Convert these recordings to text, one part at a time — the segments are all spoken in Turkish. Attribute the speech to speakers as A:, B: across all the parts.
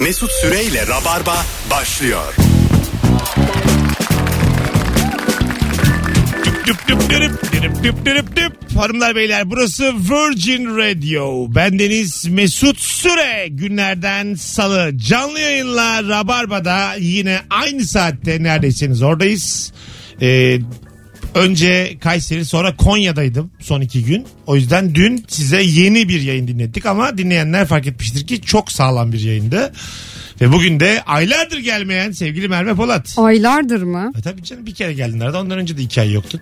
A: Mesut Süreyle Rabarba başlıyor.
B: Düp düp dürüp, dürüp düp dürüp düp. Hanımlar beyler burası Virgin Radio. Bendeniz Mesut Süre. Günlerden salı. Canlı yayınla Rabarba'da yine aynı saatte neredeyseniz oradayız. Ee, önce Kayseri sonra Konya'daydım son iki gün. O yüzden dün size yeni bir yayın dinlettik ama dinleyenler fark etmiştir ki çok sağlam bir yayındı. Ve bugün de aylardır gelmeyen sevgili Merve Polat.
C: Aylardır mı?
B: E tabii canım bir kere geldin herhalde. Ondan önce de iki ay yoktun.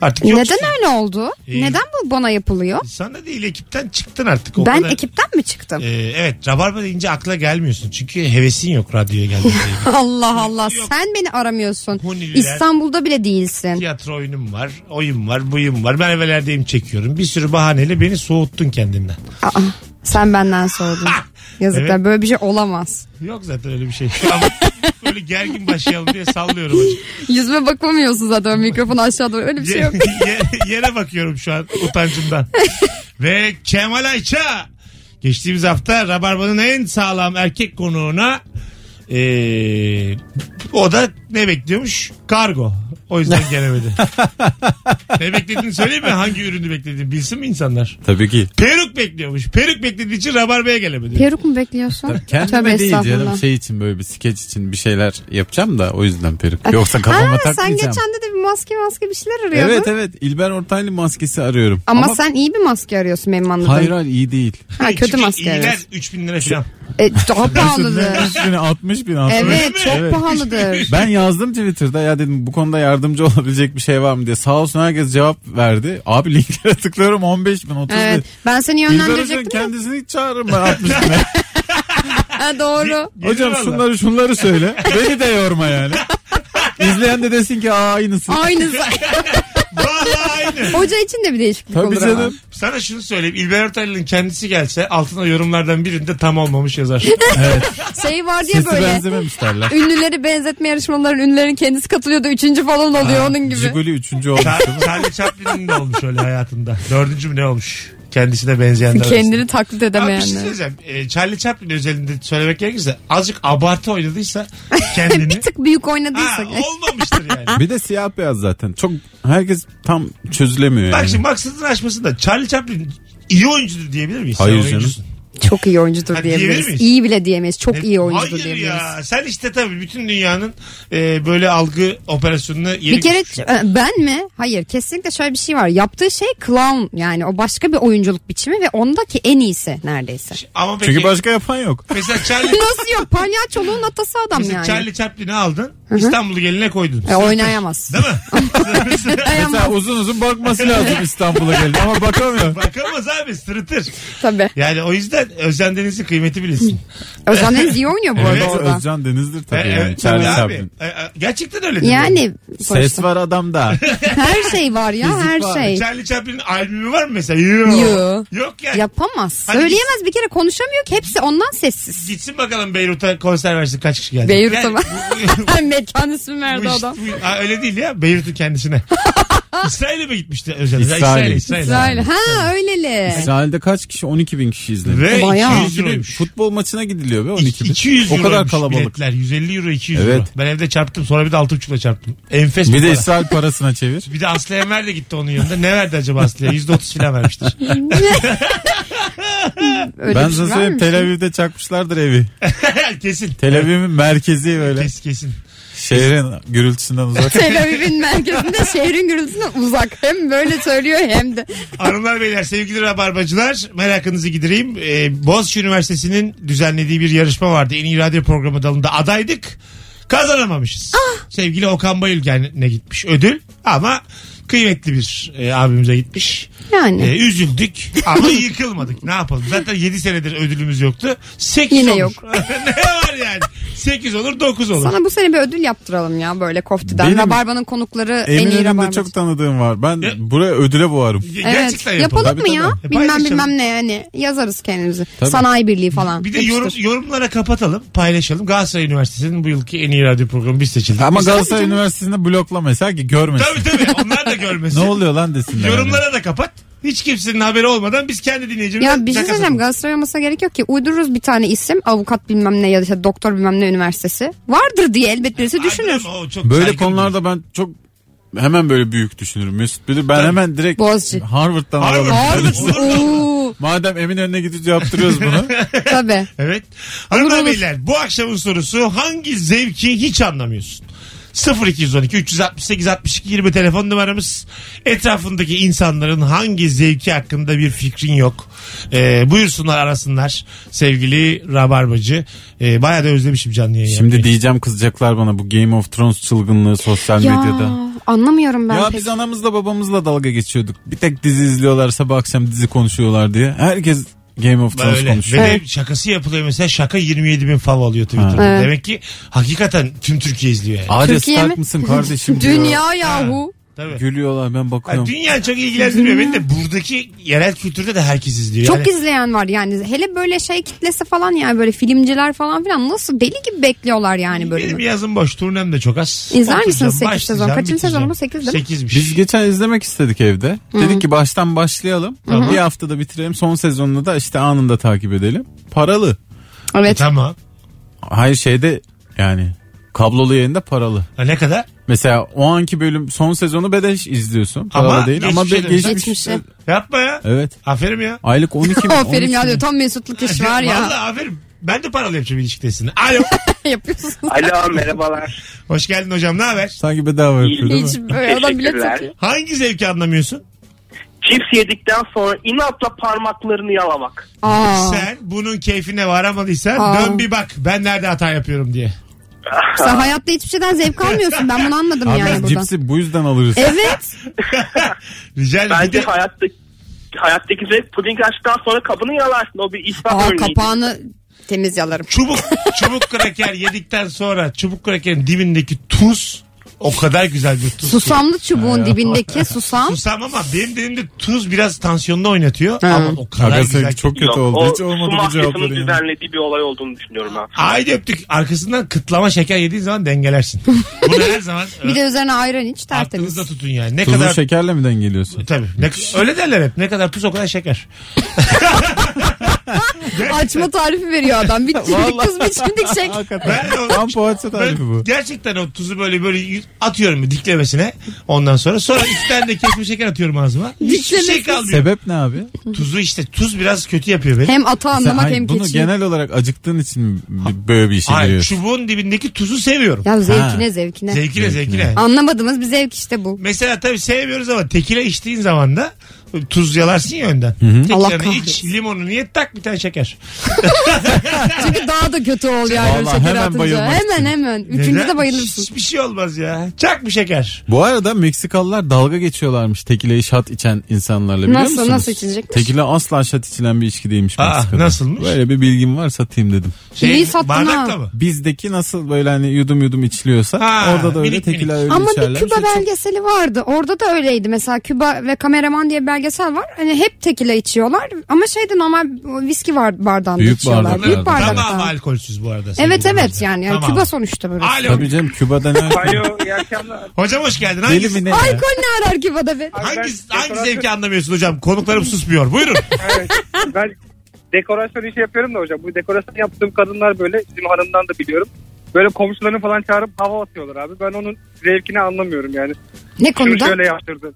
B: Artık yoksun.
C: Neden öyle oldu?
B: İyi.
C: Neden bu bana yapılıyor?
B: Sana değil ekipten çıktın artık. O
C: ben
B: kadar-
C: ekipten mi çıktım?
B: Ee, evet rabarba deyince akla gelmiyorsun. Çünkü hevesin yok radyoya gelmeye.
C: Allah Allah
B: Yok.
C: sen beni aramıyorsun.
B: Huniler.
C: İstanbul'da bile değilsin.
B: Tiyatro oyunum var, oyun var, buyum var. Mervelerdeyim çekiyorum. Bir sürü bahaneyle beni soğuttun kendinden.
C: Aa, sen benden sordun. Yazıklar
B: Evet.
C: böyle bir şey olamaz.
B: Yok zaten öyle bir şey. Ama böyle gergin başlayalım diye sallıyorum açık.
C: Yüzüme bakamıyorsun zaten mikrofon aşağı doğru öyle bir şey yok.
B: Ye- yere bakıyorum şu an utancımdan. Ve Kemal Ayça geçtiğimiz hafta Rabarba'nın en sağlam erkek konuğuna ee, o da ne bekliyormuş? Kargo. O yüzden gelemedi. ne beklediğini söyleyeyim mi? Hangi ürünü beklediğini bilsin mi insanlar?
D: Tabii ki.
B: Peruk bekliyormuş. Peruk beklediği için Rabarba'ya gelemedi.
C: Peruk mu bekliyorsun?
D: Kendime değil
C: estağfurullah.
D: canım şey için böyle bir skeç için bir şeyler yapacağım da o yüzden peruk. Yoksa kafama
C: Ha, sen
D: takmayacağım.
C: geçen de, de bir maske maske bir şeyler arıyordun.
D: Evet evet İlber Ortaylı maskesi arıyorum.
C: Ama, sen iyi bir maske arıyorsun benim anladığım.
D: Hayır hayır iyi değil.
C: Ha, kötü
B: Çünkü
C: maske
B: iyiler
C: arıyorsun.
B: 3000 lira falan.
C: E, daha pahalıdır.
D: 60 bin 60 bin aslında.
C: evet çok
D: Evet.
C: pahalıdır.
D: Ben yazdım Twitter'da ya dedim bu konuda yardımcı olabilecek bir şey var mı diye. Sağ olsun herkes cevap verdi. Abi linklere tıklıyorum 15 bin 30 bin.
C: Evet. Ben seni
D: İlber Hoca'nın
C: yönlendirecektim. de-
D: kendisini hiç çağırırım ben 60 bine.
C: Ha, doğru.
B: Gelir
D: Hocam
B: valla.
D: şunları şunları söyle. Beni de yorma yani. İzleyen de desin ki aa aynısı.
C: Aynısı.
B: Vallahi aynı.
C: Hoca için de bir değişiklik olur
D: Tabii
C: ama.
D: canım.
B: Sana şunu söyleyeyim. İlber Ortaylı'nın kendisi gelse altına yorumlardan birinde tam olmamış yazar.
C: Şey var diye
D: Sesi
C: böyle.
D: benzememiş derler.
C: Ünlüleri benzetme yarışmalarının ünlülerin kendisi katılıyordu. Üçüncü falan oluyor onun gibi.
D: Jiguli üçüncü olmuş.
B: Char- Charlie Chaplin'in de olmuş öyle hayatında. Dördüncü mü ne olmuş? Kendisine benzeyenler
C: Kendini
B: Ama
C: taklit
B: bir şey
C: edemeyenler.
B: söyleyeceğim. Ee, Charlie Chaplin özelinde söylemek gerekirse azıcık abartı oynadıysa kendini.
C: Bir tık büyük
B: ha,
C: oynadıysa.
B: olmamıştır yani.
D: Bir de siyah beyaz zaten. Çok herkes tam çözülemiyor
B: Bak
D: yani.
B: şimdi maksadını aşmasın da Charlie Chaplin iyi oyuncudur diyebilir miyiz? Sen
D: Hayır canım.
B: oyuncusun.
C: Çok iyi oyuncudur
B: Ha, diyebilir miyiz?
C: diyebiliriz. İyi bile diyemeyiz. Çok
B: Ne-
C: iyi oyuncudur
B: Hayır
C: diyebiliriz.
B: ya. Sen işte tabii bütün dünyanın e, böyle algı operasyonuna yeri
C: Bir kere
B: düşmüş.
C: e, ben mi? Hayır kesinlikle şöyle bir şey var. Yaptığı şey clown yani o başka bir oyunculuk biçimi ve ondaki en iyisi neredeyse.
B: Ama peki
D: Çünkü başka yapan yok.
B: mesela Charlie
C: Nasıl yok? Palyaçoluğun atası adam
B: Mesela
C: yani.
B: Charlie Chaplin'i aldın. İstanbul'u geline koydun.
C: E, oynayamaz.
B: Değil mi?
D: Mesela uzun uzun bakması lazım İstanbul'a geldi ama bakamıyor.
B: Bakamaz abi sırıtır.
C: Tabii.
B: Yani o yüzden Özlem Deniz'in kıymeti bilirsin.
C: Özcan Deniz iyi oynuyor bu
B: Evet,
C: arada orada.
D: Özcan Deniz'dir
B: E,
D: tabii yani.
B: evet,
D: Charlie
B: tabii abi.
D: Chaplin.
B: E, e, gerçekten öyle değil mi?
C: Yani
D: Ses
C: sonuçta.
D: var adamda.
C: her şey var ya
D: Fizik
C: her
D: var.
C: şey.
B: Charlie Chaplin'in albümü var mı mesela? Yok.
C: Yo.
B: Yok yani.
C: Yapamaz.
B: Hadi
C: Söyleyemez bir kere konuşamıyor ki hepsi ondan sessiz.
B: Gitsin bakalım Beyrut'a konser versin kaç kişi geldi.
C: Beyrut'a
B: Yani
C: mı?
B: bu- bu-
C: Mekan ismi
B: bu
C: verdi
B: iş-
C: adam.
B: bu- Aa, öyle değil ya Beyrut'un kendisine. İsrail'e mi gitmişti Özlem?
D: İsrail.
B: İsrail. İsrail.
C: İsrail. Ha öyleli.
D: İsrail'de kaç kişi? 12 bin kişi izlemiş.
B: Ve
C: Bayağı.
B: 200 euroymuş.
D: Futbol maçına gidiliyor be 12 bin.
B: 200
D: o kadar
B: euroymuş
D: kalabalık.
B: biletler. 150 euro 200 euro.
D: Evet.
B: Ben evde çarptım sonra bir de 6.5'la çarptım. Enfes
D: Bir
B: bir
D: de
B: para.
D: İsrail parasına çevir.
B: Bir de Aslı Enver de gitti onun yanında. Ne verdi acaba Aslı'ya? %30 falan vermiştir.
C: Öyle
D: ben
C: bir şey
D: sana söyleyeyim
C: vermiş.
D: Tel Aviv'de çakmışlardır evi.
B: kesin.
D: Tel Aviv'in merkezi böyle.
B: Kes, kesin.
D: Şehrin gürültüsünden uzak.
C: Tel Aviv'in merkezinde şehrin gürültüsünden uzak. Hem böyle söylüyor hem de.
B: Hanımlar beyler sevgili rabarbacılar merakınızı gidireyim. Ee, Boğaziçi Üniversitesi'nin düzenlediği bir yarışma vardı. En iyi radyo programı dalında adaydık. Kazanamamışız. Sevgili Okan Bayülgen'e gitmiş ödül ama kıymetli bir e, abimize gitmiş.
C: Yani.
D: E,
B: Ee, üzüldük ama yıkılmadık. Ne yapalım? Zaten 7 senedir ödülümüz yoktu. 8
C: Yine
B: olur.
C: yok.
B: ne var yani? 8 olur 9 olur.
C: Sana bu sene bir ödül yaptıralım ya böyle koftiden.
D: Benim-
C: Rabarba'nın konukları en iyi
D: Eminönü'nde
C: rabarbacı.
D: çok tanıdığım var. Ben buraya ödüle boğarım.
B: Ge-
C: Evet.
B: E, Gerçekten
C: Yapalım,
B: yapalım.
D: Tabii,
C: mı ya?
D: tabii.
B: E,
C: bilmem
B: paylaşalım.
C: bilmem ne yani. Yazarız kendimizi.
D: Tabii.
C: Sanayi birliği falan.
B: Bir de yorum,
C: Yapıştır.
B: yorumlara kapatalım, paylaşalım. Galatasaray Üniversitesi'nin bu yılki en iyi radyo programı biz seçildik.
D: Ama Galatasaray Üniversitesi'nde blokla mesela ki görmesin.
B: Tabii tabii onlar da görmesin.
D: Ne oluyor lan desinler.
B: Yorumlara da kapat. Hiç kimsenin haberi olmadan biz kendi dinleyicilerimize
C: Ya bir şey
B: şaka
C: söyleyeceğim
B: satıyoruz.
C: gastronomi olmasına gerek yok ki. Uydururuz bir tane isim avukat bilmem ne ya da işte doktor bilmem ne üniversitesi. Vardır diye elbet birisi düşünür.
B: Harbiden o çok
D: Böyle
B: saygın.
D: konularda ben çok hemen böyle büyük düşünürüm Mesut bilir. Ben hemen direkt
C: Boğaziçi.
D: Harvard'dan
B: Harvard.
D: alalım.
C: Vardır. Oo,
D: Madem emin önüne gidiyoruz yaptırıyoruz bunu.
C: tabii.
B: Evet. Hanımlar
C: olur.
B: beyler bu akşamın sorusu hangi zevki hiç anlamıyorsun? 0212 368 62 20 telefon numaramız. Etrafındaki insanların hangi zevki hakkında bir fikrin yok. Ee, buyursunlar arasınlar sevgili Rabarbacı. Ee, bayağı da özlemişim canlı yayını.
D: Şimdi
B: yapmayı.
D: diyeceğim kızacaklar bana bu Game of Thrones çılgınlığı sosyal medyada.
C: Ya anlamıyorum ben
D: ya
C: pek.
D: biz anamızla babamızla dalga geçiyorduk. Bir tek dizi izliyorlar sabah akşam dizi konuşuyorlar diye. Herkes Game of Thrones
B: Böyle. Ve
D: konuşuyor.
B: de
C: Evet.
B: şakası yapılıyor mesela şaka 27 bin fav alıyor Twitter'da.
C: Evet.
B: Demek ki hakikaten tüm Türkiye izliyor yani.
D: Arya
C: Türkiye
D: Stark
C: mi?
D: mısın kardeşim? diyor.
C: Dünya yahu.
B: Tabii.
D: Gülüyorlar ben
B: Ha,
D: bakıyorum.
B: dünya çok ilgilendiriyor beni de buradaki yerel kültürde de herkes izliyor.
C: Çok
B: Yani-
C: izleyen var yani hele böyle şey kitlesi falan yani böyle filmciler falan filan nasıl deli gibi bekliyorlar yani
B: Benim
C: bölümü.
B: yazım boş. Turnem de çok az.
C: İzler
B: Oturacağım,
C: misiniz sekiz
B: başlayacağım,
C: sezon? Kaçıncı
B: bitireceğim.
C: sezonu bu? Sekiz değil mi?
B: Sekizmiş.
D: Biz geçen izlemek istedik evde. Dedik ki baştan başlayalım. Bir haftada bitirelim. Son sezonunu da işte anında takip edelim. Paralı.
B: E,
C: Evet.
B: tamam.
D: Hayır şeyde yani kablolu yayında paralı.
B: Ha, ne kadar?
D: Mesela o anki bölüm son sezonu bedeş izliyorsun.
B: Ama
D: Paralı değil ama be,
B: geçmişe dönüyorsun.
D: geçmiş.
C: Geçmişe.
B: Yapma ya.
D: Evet.
B: Aferin ya.
D: Aylık 12 bin.
C: Aferin
D: 13
C: ya
D: bin.
C: diyor tam mesutluk iş var ya.
B: Vallahi aferin. Ben de paralıyım şimdi ilişkidesini. Alo.
C: Yapıyorsunuz.
E: Alo merhabalar.
B: Hoş geldin hocam. Ne haber?
D: Sanki bedava yapıyor değil mi?
C: Hiç böyle adam bile
E: Teşekkürler.
C: takıyor.
B: Hangi zevki anlamıyorsun?
E: Cips yedikten sonra inatla parmaklarını yalamak.
C: Aa,
B: Sen bunun keyfine varamadıysan
C: Aa.
B: dön bir bak. Ben nerede hata yapıyorum diye.
C: sen hayatta hiçbir şeyden zevk almıyorsun ben bunu anladım
D: Abi
C: yani
D: biz
C: buradan.
D: cipsi bu yüzden alırız.
C: Evet.
B: Rica ederim. Bir
E: Bence
B: de-
E: hayatta hayattaki zevk puding açtıktan sonra kabını yalarsın. O bir israf
C: Aa,
E: örneği.
C: kapağını temiz yalarım.
B: Çubuk, çubuk kraker yedikten sonra çubuk krakerin dibindeki tuz o kadar güzel bir tuz. ki.
C: Susamlı çubuğun dibindeki susam.
B: Susam ama benim dilimde tuz biraz tansiyonunu oynatıyor. Ama o kadar
D: Aga
B: güzel.
D: sanki çok
E: Yok,
D: kötü
E: o
D: oldu. Hiç
E: su
D: olmadı bu
E: mafyasının
D: cevapları. yani.
E: düzenlediği bir olay olduğunu düşünüyorum ben.
B: Haydi öptük. Arkasından kıtlama şeker yediğin zaman dengelersin. Bunu her zaman
C: Bir de üzerine ayran iç
B: ö,
C: tertemiz.
B: aklınızda tutun yani. Ne
D: Tuzlu
B: kadar
D: şekerle mi dengeliyorsun?
B: Tabii. Ne, öyle derler hep. Ne kadar tuz o kadar şeker.
C: Açma tarifi veriyor adam. Bir çimdik kız bir çimdik şek.
B: Ben de o-
D: Tam poğaça tarifi
B: Ben
D: bu.
B: gerçekten o tuzu böyle böyle atıyorum bir diklemesine ondan sonra. Sonra iki tane de kesme şeker atıyorum ağzıma. Hiçbir şey
C: Diklemesi.
B: kalmıyor.
D: Sebep ne abi?
B: Tuzu işte tuz biraz kötü yapıyor beni.
C: Hem ata
D: Sen,
C: anlamak
D: hayır,
C: hem
D: bunu
C: keçi.
D: genel olarak acıktığın için mi b- böyle bir işe
B: Hayır,
D: giriyorsun?
B: çubuğun dibindeki tuzu seviyorum.
C: Ya
D: Ha.
C: zevkine zevkine.
B: Zevkine zevkine.
C: Anlamadığımız bir zevk işte bu.
B: Mesela tabii sevmiyoruz ama tekile içtiğin zaman da tuz yalarsın ya önden.
C: Allah
B: Tekilanı iç,
C: kahretsin.
B: limonu niye tak bir tane şeker.
C: Çünkü daha da kötü ol yani
D: Vallahi
C: öyle şeker
D: hemen
C: atınca.
D: bayılmak
C: Hemen hemen. Üçüncü
B: Neden?
C: de bayılırsın.
B: Hiçbir şey olmaz ya. Çak bir şeker.
D: Bu arada Meksikalılar dalga geçiyorlarmış tekileyi şat içen insanlarla biliyor
C: Nasıl,
D: musunuz?
C: nasıl içilecekmiş?
D: Tekile asla şat içilen bir içki değilmiş
B: Aa,
D: Meksika'da.
B: nasılmış?
D: Böyle bir bilgim var satayım dedim.
C: İyi sattın
B: bardakla
C: ha.
B: Şey, mı?
D: Bizdeki nasıl böyle hani yudum yudum içiliyorsa
B: Ha,
D: orada da öyle
B: minik
D: tekila
B: minik.
D: öyle Şey-
C: Ama bir
D: içerlermiş.
C: Küba
D: Çok-
C: belgeseli vardı. Orada da öyleydi. Mesela Küba ve Kameraman diye bir belgesel var. Hani hep tekila içiyorlar. Ama şeyde normal viski var, bardağında
D: Büyük
C: içiyorlar.
D: bardaklarda.
C: Büyük bardakta.
B: Tamam alkolsüz bu arada.
C: Evet
B: sevgili
C: evet
B: dinleyiciler.
C: yani. yani
B: Tamam.
C: Küba sonuçta böyle.
B: Alo.
D: Tabii canım şey- Küba'da ne?
E: Alo iyi akşamlar.
B: Hocam hoş geldin.
D: Deli
B: Hangi,
D: mi ne? ya?
C: Alkol ne arar Küba'da be?
E: Ay,
B: hangi,
E: ben
B: hangi
E: dekorasyon-
B: zevki anlamıyorsun hocam? Konuklarım susmuyor. Buyurun.
E: Evet. ben dekorasyon işi yapıyorum da hocam. Bu dekorasyon yaptığım kadınlar böyle bizim hanımdan da biliyorum. Böyle komşularını falan çağırıp hava atıyorlar abi. Ben onun zevkini anlamıyorum yani.
C: Ne
E: Şunu
C: konuda?
E: şöyle yaptırdım.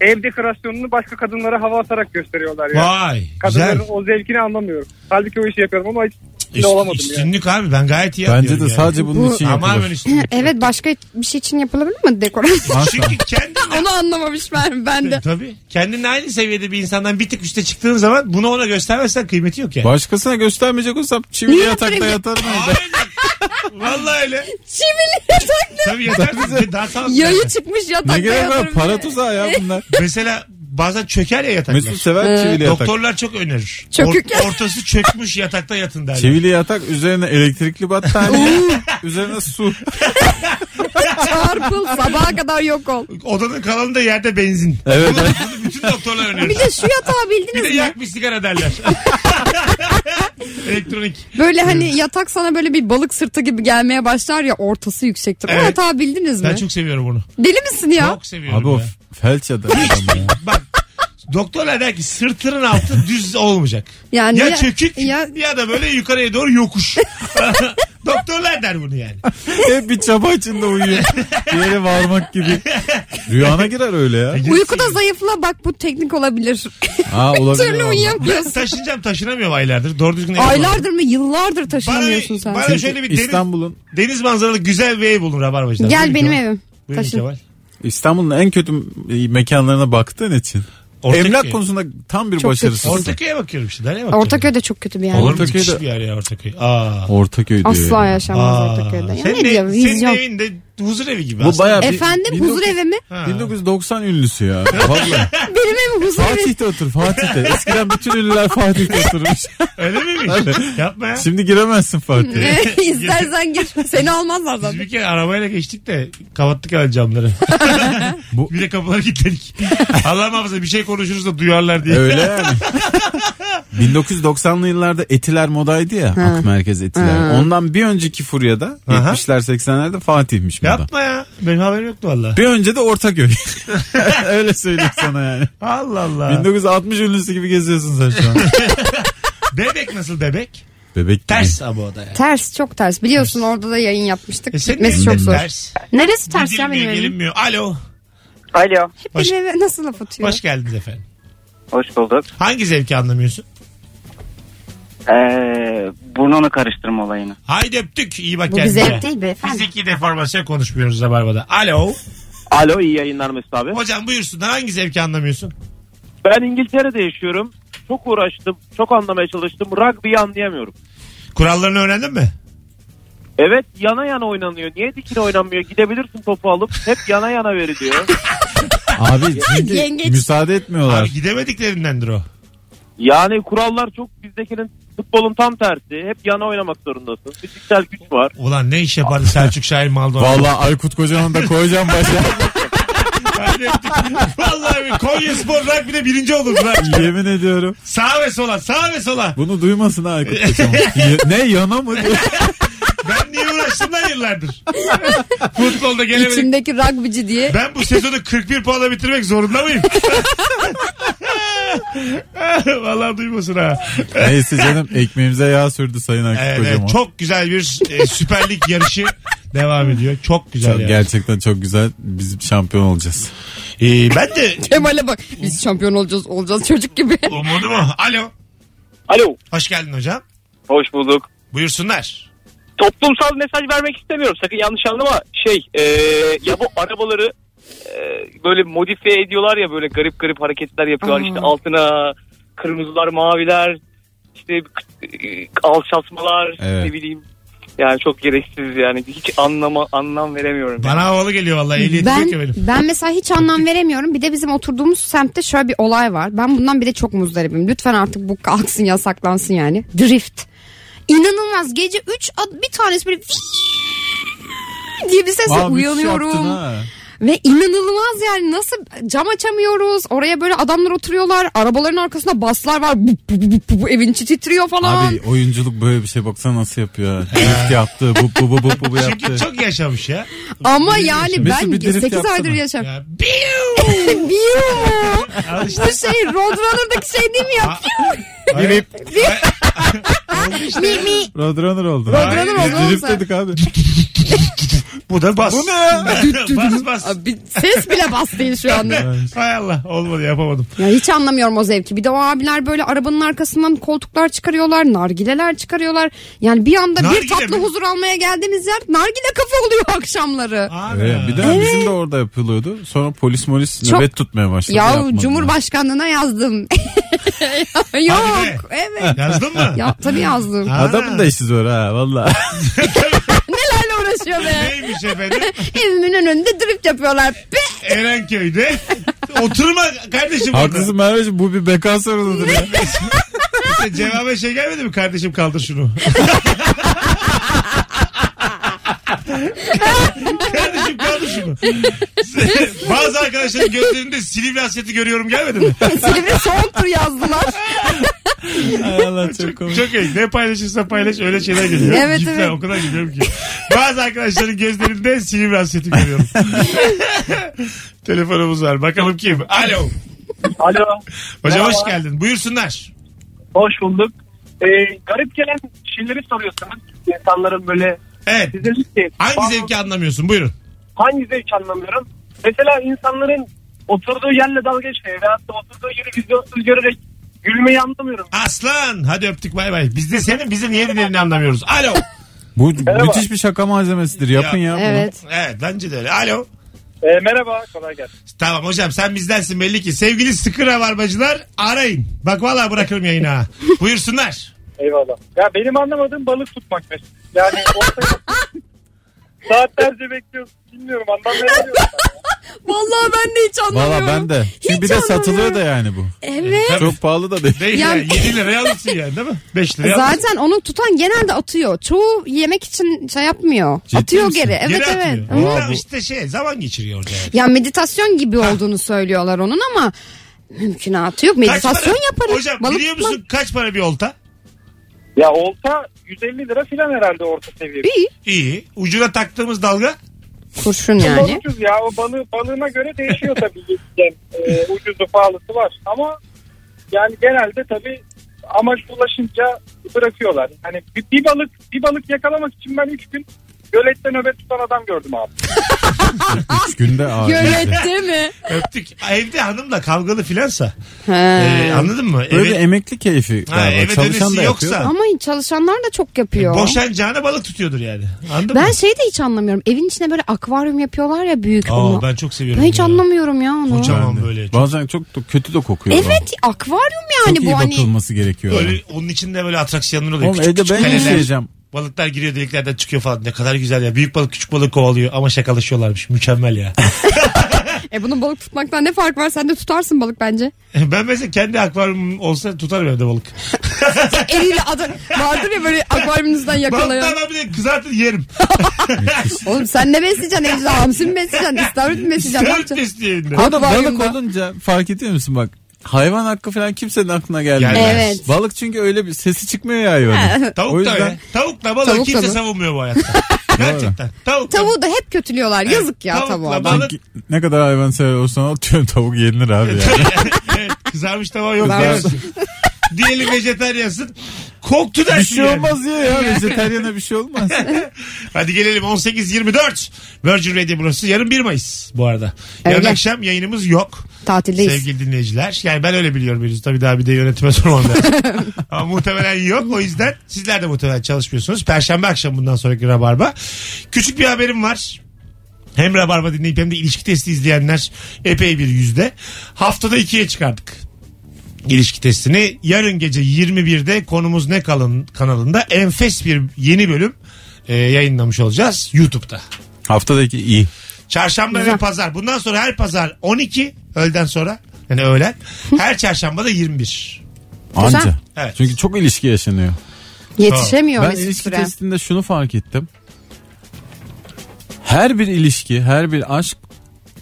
E: Ev dekorasyonunu başka kadınlara hava atarak gösteriyorlar yani.
B: Vay.
E: Kadınların
B: Güzel.
E: o zevkini anlamıyorum. Halbuki o işi yapıyorum ama hiç
B: Üst-
E: içinde olamadım yani.
B: üstünlük abi ben gayet iyi
D: Bence
B: anlıyorum
D: de
B: yani.
D: sadece bunun
C: Bu-
D: için
B: Tamamen
D: yapılır.
B: üstünlük.
C: Evet başka bir şey için yapılabilir mi dekorasyon?
D: Asla.
B: Çünkü kendinle
C: Onu anlamamış ben, ben de.
B: Tabii. Kendinle aynı seviyede bir insandan bir tık üste çıktığın zaman bunu ona göstermezsen kıymeti yok yani.
D: Başkasına göstermeyecek olsam çivili
C: Niye
D: yatakta
C: yapayım?
D: yatarım. evde.
B: Aynen. Vallahi öyle.
C: Çivili yataklı.
B: Tabii yatarsın. Daha sağlıklı.
C: Yayı çıkmış yatakta
D: Ne gerek var
C: yatırım
D: para
C: diye.
D: tuzağı ya bunlar.
B: Mesela bazen çöker ya yataklar.
D: Mesut
C: Ee,
D: sever çivili yatak.
B: Doktorlar çok önerir.
C: Çökük
B: Or- ortası çökmüş yatakta yatın derler.
D: Çivili yatak üzerine elektrikli battaniye, üzerine su.
C: Çarpıl sabaha kadar yok ol.
B: Odanın kalanı da yerde benzin.
D: Evet,
B: Bunu,
D: evet.
B: bunu bütün doktorlar önerir.
C: Bir de şu yatağı
B: Bir de
C: bildiniz mi?
B: yak bir sigara derler. Elektronik.
C: Böyle hani yatak sana böyle bir balık sırtı gibi gelmeye başlar ya ortası yüksektir. O
B: Evet.
C: yatağı bildiniz mi?
B: Ben çok seviyorum bunu.
C: Deli misin ya?
B: Çok seviyorum.
D: Abi o
B: ya.
D: felç adam. ya.
B: Bak Doktorlar der ki sırtının altı düz olmayacak.
C: Yani
B: ya,
C: ya-
B: çökük ya...
C: ya-
B: da böyle yukarıya doğru yokuş. Doktorlar der bunu yani.
D: Hep bir çaba içinde uyuyor. Bir yere varmak gibi. Rüyana girer öyle ya.
C: Uykuda zayıfla bak bu teknik olabilir.
D: Aa, olabilir
C: Türlü
D: valla.
B: Ben
C: uyuyamıyorsun.
B: taşınacağım taşınamıyorum aylardır. Doğru düzgün ev bulamıyorum.
C: Aylardır mı yıllardır taşınamıyorsun
B: Bana,
C: sen.
B: bana şöyle bir deniz,
D: İstanbul'un
B: deniz manzaralı güzel bir ev bulun Rabarbacılar.
C: Gel
B: Buyurun
C: benim
B: Kemal.
C: evim.
B: Buyurun
C: Taşın.
B: Kemal.
D: İstanbul'un en kötü mekanlarına baktığın için
B: Ortaköy.
D: emlak konusunda tam bir
C: Çok
D: başarısız.
B: Ortaköy'e bakıyorum işte. Nereye bakıyorum?
C: Ortaköy de çok kötü bir yer.
B: Olur mu?
D: Ortaköy'de-
B: Müthiş bir yer ya Ortaköy. Aa.
D: Ortaköy diyor.
C: Asla
D: ya.
C: yaşanmaz
B: Aa.
C: Ortaköy'de. Ya ne
B: senin,
C: diyor?
B: ev, senin
C: Vizyon.
B: evin de huzur evi gibi
D: Bu
B: aslında.
D: bayağı bir-
C: Efendim
D: bir-
C: huzur evi mi?
B: Ha.
D: 1990 ünlüsü ya. Vallahi.
C: Benim evim huzur evi.
D: Fatih'te otur Fatih'te. Eskiden bütün ünlüler Fatih'te oturmuş.
B: Öyle miymiş? Yapma ya.
D: Şimdi giremezsin Fatih'e.
C: İstersen gir. Seni almazlar
B: Biz
C: zaten.
B: bir kere arabayla geçtik de kapattık öyle camları.
D: Bu-
B: Bir de kapıları kilitledik. Allah muhafaza bir şey konuşuruz da duyarlar diye.
D: Öyle yani. 1990'lı yıllarda etiler modaydı ya. Ak merkez etiler. Ondan bir önceki furyada
B: Aha.
D: 70'ler 80'lerde Fatih'miş moda.
B: Yapma ya. Benim haberim yoktu valla.
D: Bir önce de Ortaköy. Öyle söyleyeyim sana yani.
B: Allah Allah.
D: 1960 ünlüsü gibi geziyorsun sen şu an.
B: Bebek nasıl bebek?
D: Bebek gibi.
B: Ters ama o da yani.
C: Ters çok ters. Biliyorsun orada da yayın yapmıştık.
B: E senin
C: Gitmesi
B: evin
C: çok
B: de
C: zor.
B: Ters.
C: Neresi ters ya benim
B: Gidilmiyor,
C: evim?
B: gelinmiyor. Alo.
F: Alo.
C: Hep
B: Hoş-
C: benim eve nasıl laf atıyor?
B: Hoş geldiniz efendim.
F: Hoş bulduk.
B: Hangi zevki anlamıyorsun?
F: Ee, burnunu karıştırma olayını.
B: Haydi öptük. İyi bak
C: Bu bir
B: kendine.
C: zevk değil beyefendi.
B: Fiziki deformasyon konuşmuyoruz Rabarba'da. Alo.
G: Alo iyi yayınlar Mesut abi.
B: Hocam buyursunlar. Hangi zevki anlamıyorsun?
G: Ben İngiltere'de yaşıyorum. Çok uğraştım. Çok anlamaya çalıştım. Rugby'yi anlayamıyorum.
B: Kurallarını öğrendin mi?
G: Evet yana yana oynanıyor. Niye dikine oynanmıyor? Gidebilirsin topu alıp hep yana yana veriliyor.
D: Abi çünkü
C: Yengeç.
D: müsaade etmiyorlar.
B: Abi gidemediklerindendir o.
G: Yani kurallar çok bizdekinin futbolun tam tersi. Hep yana oynamak zorundasın. Fiziksel güç var.
B: Ulan ne iş yapardı Selçuk Şahin Maldon?
D: Vallahi Aykut Kocaman da koyacağım başa.
B: Haydi öptük. Vallahi bir Konya Spor bir de birinci olurdu. lan.
D: Yemin ediyorum.
B: sağa ve sola sağa ve sola.
D: Bunu duymasın ha Aykut Kocaman. Ye- ne yana mı?
B: Ben niye uğraştım lan yıllardır? Futbolda gelemedik.
C: İçimdeki rugbyci diye.
B: Ben bu sezonu 41 puanla bitirmek zorunda mıyım? Vallahi duymasın ha.
D: Neyse canım ekmeğimize yağ sürdü Sayın Aykut
B: Evet,
D: Kocaman.
B: evet, çok güzel bir e, Süper Lig yarışı devam ediyor. Çok güzel
D: Çok-
B: yani.
D: Gerçekten çok güzel. Biz şampiyon olacağız.
B: Ee, ben de
C: Kemal'e bak. Biz şampiyon olacağız olacağız çocuk gibi.
B: umudumu. Alo.
G: Alo.
B: Hoş geldin hocam.
G: Hoş bulduk.
B: Buyursunlar.
G: toplumsal mesaj vermek istemiyorum. Sakın yanlış anlama. Şey e, ya bu arabaları e, böyle modifiye ediyorlar ya böyle garip garip hareketler yapıyorlar.
C: Aa.
G: İşte altına kırmızılar maviler işte e, alçaltmalar
D: Evet.
G: ne bileyim. Yani çok gereksiz yani hiç anlama anlam veremiyorum.
B: Bana havalı geliyor vallahi. Ehliyeti
C: Ben,
B: yok ya benim.
C: ben mesela hiç anlam veremiyorum. Bir de bizim oturduğumuz semtte şöyle bir olay var. Ben bundan bir de çok muzdaribim. Lütfen artık bu kalksın yasaklansın yani. Drift. İnanılmaz gece 3 bir tanesi böyle "Vii!" diye bir sesle
D: Aa,
B: şey
D: müthiş şey yaptın
C: uyanıyorum.
D: ha.
C: Ve inanılmaz yani nasıl cam açamıyoruz. Oraya böyle adamlar oturuyorlar. Arabaların arkasında baslar var. Bu, bu, bu, bu, bu, evin içi titriyor falan.
D: Abi oyunculuk böyle bir şey baksana nasıl yapıyor. Drift yaptı. Bu bu bu bu bu yaptı.
B: Çünkü çok yaşamış ya.
C: Ama yani
D: Mesut
C: ben
D: bir drift
C: 8
D: yapsana.
C: aydır yaşam.
B: ya biu!
C: Biyo.
B: Al işte.
C: Bu şey Road Runner'daki şey değil mi ya?
B: Hayır.
C: mi mi.
D: Roadrunner oldu.
C: Roadrunner oldu
D: Biz
C: oğlum
D: Drift
C: sen.
D: dedik abi.
B: Bu da bas.
D: Bu ne?
B: bas bas.
C: Abi, ses bile bas değil şu anda.
B: Hay Allah olmadı yapamadım.
C: Ya hiç anlamıyorum o zevki. Bir de o abiler böyle arabanın arkasından koltuklar çıkarıyorlar, nargileler çıkarıyorlar. Yani bir anda
B: Nargile
C: bir tatlı
B: mi?
C: huzur almaya geldiğimiz yer nargile kafa oluyor akşamları.
B: Ana.
D: Evet, Ee, bir de bizim de orada yapılıyordu. Sonra polis molis
C: Çok-
D: nöbet tutmaya başladı.
C: Ya
D: Yapmadılar.
C: Cumhurbaşkanlığına yazdım. Yok, evet.
B: Yazdın mı?
C: Ya tabii yazdım.
B: Ha.
D: Adamın da işi zor ha valla.
C: Nelerle uğraşıyor be?
B: Neymiş efendim?
C: Evimin önünde drift yapıyorlar. Be!
B: Erenköy'de. Oturma kardeşim. orada.
D: Haklısın Merveciğim bu bir beka sorunudur ya.
B: İşte cevaba şey gelmedi mi? Kardeşim kaldır şunu. kardeşim kaldır şunu. Bazı arkadaşların gözlerinde Silivri hasreti görüyorum gelmedi mi?
C: Silivri son tur yazdılar.
D: Ay Allah çok komik.
B: Çok iyi. Ne paylaşırsa paylaş öyle şeyler geliyor.
C: Evet,
B: Gifler
C: evet.
B: o kadar gidiyorum ki. Bazı arkadaşların gözlerinde sinir hasreti görüyorum. Telefonumuz var. Bakalım kim? Alo.
G: Alo.
B: Hocam hoş
G: Merhaba.
B: geldin. Buyursunlar.
G: Hoş bulduk. Ee, garip gelen şeyleri soruyorsanız insanların böyle
B: Evet.
G: size ki
B: Hangi
G: bazı-
B: zevki anlamıyorsun? Buyurun.
G: hangi zevk anlamıyorum. Mesela insanların oturduğu yerle dalga geçmeye veyahut da oturduğu yeri vizyonsuz görerek gülmeyi anlamıyorum.
B: Aslan. Hadi öptük bay bay. Biz de senin bizim niye dinlediğini anlamıyoruz. Alo.
D: Bu müthiş bir şaka malzemesidir. Yapın ya. bunu.
C: Evet.
B: Evet bence de öyle. Alo.
G: Ee, merhaba kolay gelsin.
B: Tamam hocam sen bizdensin belli ki. Sevgili sıkı rabarbacılar arayın. Bak vallahi bırakırım yayını ha. Buyursunlar.
G: Eyvallah. Ya benim anlamadığım balık tutmak mesela. Yani ortaya saatlerce bekliyoruz. Bilmiyorum anlamıyorum.
C: Vallahi ben de hiç anlamıyorum.
D: Valla ben de. Çünkü
C: Hiç
D: bir de
C: anlamıyorum.
D: satılıyor da yani bu.
C: Evet.
B: Tabii.
D: Çok pahalı da değil.
B: Değil
C: Ya-
B: yani 7 liraya alırsın yani değil mi? 5 liraya alırsın.
C: Zaten onu tutan genelde atıyor. Çoğu yemek için şey yapmıyor.
D: Ciddi
C: atıyor
D: misin?
C: geri. Evet
B: Geri
C: evet.
B: atmıyor.
D: Aa,
B: Ya
D: bu-
B: işte şey zaman geçiriyor orada yani.
C: Ya meditasyon gibi olduğunu söylüyorlar onun ama mümkünatı yok.
B: Kaç
C: Meditasyon
B: para-
C: yaparız.
B: Hocam
C: Balık
B: biliyor
C: tutmak-
B: musun kaç para bir olta?
E: Ya olsa 150 lira filan herhalde orta seviye.
C: İyi.
B: İyi. Ucuna taktığımız dalga.
C: Kurşun yani.
E: Ucuz ya o balığı, balığına göre değişiyor tabii. Yani, e, ucuzu pahalısı var ama yani genelde tabii amaç ulaşınca bırakıyorlar. Hani bir, bir balık bir balık yakalamak için ben 3 gün gölette nöbet tutan adam gördüm abi.
D: Üç günde abi.
C: Yönetti mi?
B: Öptük. Evde hanımla kavgalı filansa.
C: He.
B: Ee, anladın mı?
D: Böyle
B: Eve,
D: bir emekli keyfi
B: Ha,
D: galiba.
B: eve
D: Çalışan
B: dönesi
D: da
B: yoksa-
D: yapıyor. da.
C: Ama çalışanlar da çok yapıyor.
B: boşanacağına balık tutuyordur yani. Anladın
C: ben
B: mı?
C: şeyi de hiç anlamıyorum. Evin içine böyle akvaryum yapıyorlar ya büyük onu.
B: Aa,
C: Ben,
B: ben çok seviyorum.
C: hiç
B: ya.
C: anlamıyorum ya onu.
B: Kocaman. Tamam böyle çok-
D: Bazen çok da kötü de kokuyor.
C: Evet akvaryum yani
D: Çok iyi
C: bu hani.
D: bakılması gerekiyor.
B: Böyle onun içinde böyle atraksiyonlar oluyor.
D: Oğlum
B: küçük
D: evde
B: küçük
D: ben
B: kaleler.
D: yaşayacağım.
B: Balıklar giriyor deliklerden çıkıyor falan. Ne kadar güzel ya. Büyük balık küçük balık kovalıyor ama şakalaşıyorlarmış. Mükemmel ya.
C: E bunun balık tutmaktan ne fark var? Sen de tutarsın balık bence.
B: ben mesela kendi akvaryumum olsa tutarım evde balık.
C: Eliyle adı vardır ya böyle akvaryumunuzdan yakalayan.
B: Balıktan ben bir de kızartır yerim.
C: Oğlum sen ne besleyeceksin evde? Hamsi mi besleyeceksin? İstavrit mi besleyeceksin? Ne
B: Dört
C: yapacaksın?
B: besli yerinde.
C: Ak-
D: Orada balık
C: Akvaryumda.
D: olunca fark ediyor musun bak? Hayvan hakkı falan kimsenin aklına gelmiyor.
B: Gelmez.
C: Evet.
D: Balık çünkü öyle bir sesi çıkmıyor ya hayvanın.
B: Tavuk
D: o
B: da
D: yüzden
B: öyle. Tavuk da balığı
C: Tavuk da
B: kimse
C: mı?
B: savunmuyor bu hayatta. Gerçekten. Tavuk da-
C: Tavuğu da hep kötülüyorlar. Yazık ya
B: Tavukla
C: tavuğa.
B: balık-
C: da.
D: Sanki ne kadar hayvan sever olsan atıyorum tavuk yenilir abi ya.
B: evet, kızarmış tava yok
C: Kızarmış.
B: diyemezsin. Diyelim vejetaryansın. Koktu dersin.
D: bir şey
B: yani.
D: olmaz ya ya. Vejetaryana bir şey olmaz.
B: Hadi gelelim 18.24. Virgin Radio burası. Yarın 1 Mayıs bu arada. Yarın
C: Öyle.
B: akşam yayınımız yok.
C: Tatildeyiz.
B: Sevgili dinleyiciler. Yani ben öyle biliyorum henüz. Tabii daha bir de yönetime sormam lazım. Ama muhtemelen yok. O yüzden sizler de muhtemelen çalışmıyorsunuz. Perşembe akşam bundan sonraki Rabarba. Küçük bir haberim var. Hem Rabarba dinleyip hem de ilişki testi izleyenler epey bir yüzde. Haftada ikiye çıkardık ilişki testini. Yarın gece 21'de konumuz ne kalın kanalında enfes bir yeni bölüm e, yayınlamış olacağız YouTube'da.
D: Haftadaki iyi.
B: Çarşamba ve pazar. Bundan sonra her pazar 12 öğleden sonra yani öğlen. Her çarşamba da 21.
D: Anca.
B: Evet.
D: Çünkü çok ilişki yaşanıyor.
C: Yetişemiyor
D: Ben
C: Mesut
D: ilişki
C: Süre.
D: testinde şunu fark ettim. Her bir ilişki, her bir aşk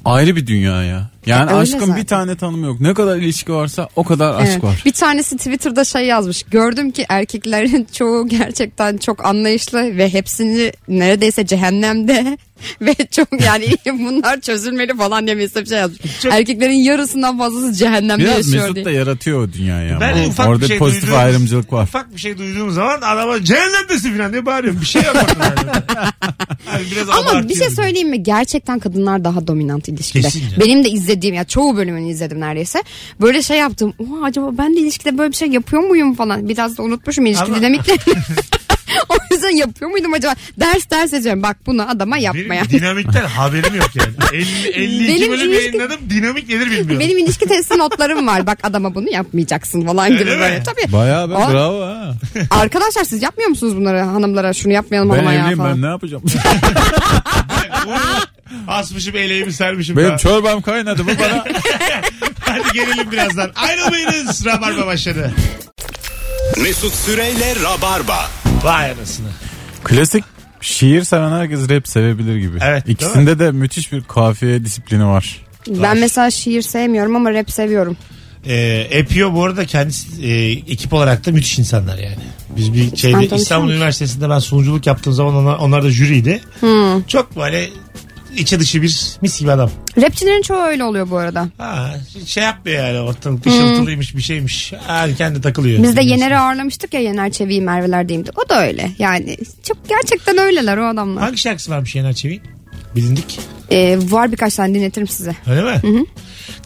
D: ayrı bir dünya ya. Yani
C: E, öyle
D: aşkın
C: zaten.
D: bir tane tanımı yok. Ne kadar ilişki varsa o kadar
C: Evet.
D: aşk var.
C: Bir tanesi Twitter'da şey yazmış. Gördüm ki erkeklerin çoğu gerçekten çok anlayışlı ve hepsini neredeyse cehennemde ve çok yani bunlar çözülmeli falan diye mesela bir şey yazmış. Erkeklerin yarısından fazlası cehennemde
D: Biraz
C: yaşıyor
D: Mesut
C: diye.
D: da yaratıyor o dünyayı ama.
B: Ben de ufak
D: Orada
B: bir şey
D: pozitif
B: duyduğum-
D: ayrımcılık var.
B: Ufak bir şey duyduğum zaman adama cehennemdesin falan diye bağırıyorum. Bir şey yok ortada. Yani biraz
C: Ama bir şey
B: abartıyorum.
C: söyleyeyim mi? Gerçekten kadınlar daha dominant ilişkide.
B: Kesin canım.
C: Benim de izlediğim ya çoğu bölümünü izledim neredeyse. Böyle şey yaptım. Oha acaba ben de ilişkide böyle bir şey yapıyor muyum falan. Biraz da unutmuşum ilişki
B: Ama-
C: dinamiklerini. o yüzden yapıyor muydum acaba? Ders ders ediyorum. Bak bunu adama yapma
B: Benim
C: yani.
B: dinamikten haberim yok yani. 50, 52
C: Benim
B: bölüm
C: ilişki-
B: yayınladım dinamik nedir bilmiyorum.
C: Benim ilişki testi notlarım var. Bak adama bunu yapmayacaksın falan gibi
B: Öyle mi?
C: böyle. Tabii.
D: Bayağı be
C: Aa.
D: bravo ha.
C: Arkadaşlar siz yapmıyor musunuz bunları hanımlara? Şunu yapmayalım
D: Ben
C: hanıma ya
D: evliyim ben
C: falan.
D: ne yapacağım?
B: Asmışım eleğimi sermişim.
D: Benim
B: daha.
D: çorbam kaynadı bu bana.
B: Hadi gelelim birazdan. Ayrılmayınız. Rabarba başladı.
A: Mesut Süreyle Rabarba.
B: Vay anasını.
D: Klasik şiir seven herkes rap sevebilir gibi.
B: Evet, değil
D: İkisinde de müthiş bir kafiye disiplini var.
C: Ben mesela şiir sevmiyorum ama rap seviyorum.
B: Ee, Epio bu arada kendisi e, ekip olarak da müthiş insanlar yani. Biz bir şeyde
C: tanışıyor
B: İstanbul
C: musun? Hmm.
B: Üniversitesi'nde ben sunuculuk yaptığım zaman onlar, onlar da jüriydi. Çok böyle içi dışı bir mis gibi adam.
C: Rapçilerin çoğu öyle oluyor bu arada.
B: Ha, şey yapmıyor yani ortalık ışıltılıymış bir şeymiş. Ha, kendi takılıyor.
C: Biz de Hmm. Yener'i ağırlamıştık ya Yener Çevi'yi Merve'lerdeyimdi. O da öyle yani. Çok gerçekten öyleler o adamlar.
B: Hangi şarkısı varmış Yener Çevik'in? Bilindik.
C: Ee, var birkaç tane dinletirim size.
B: Öyle mi?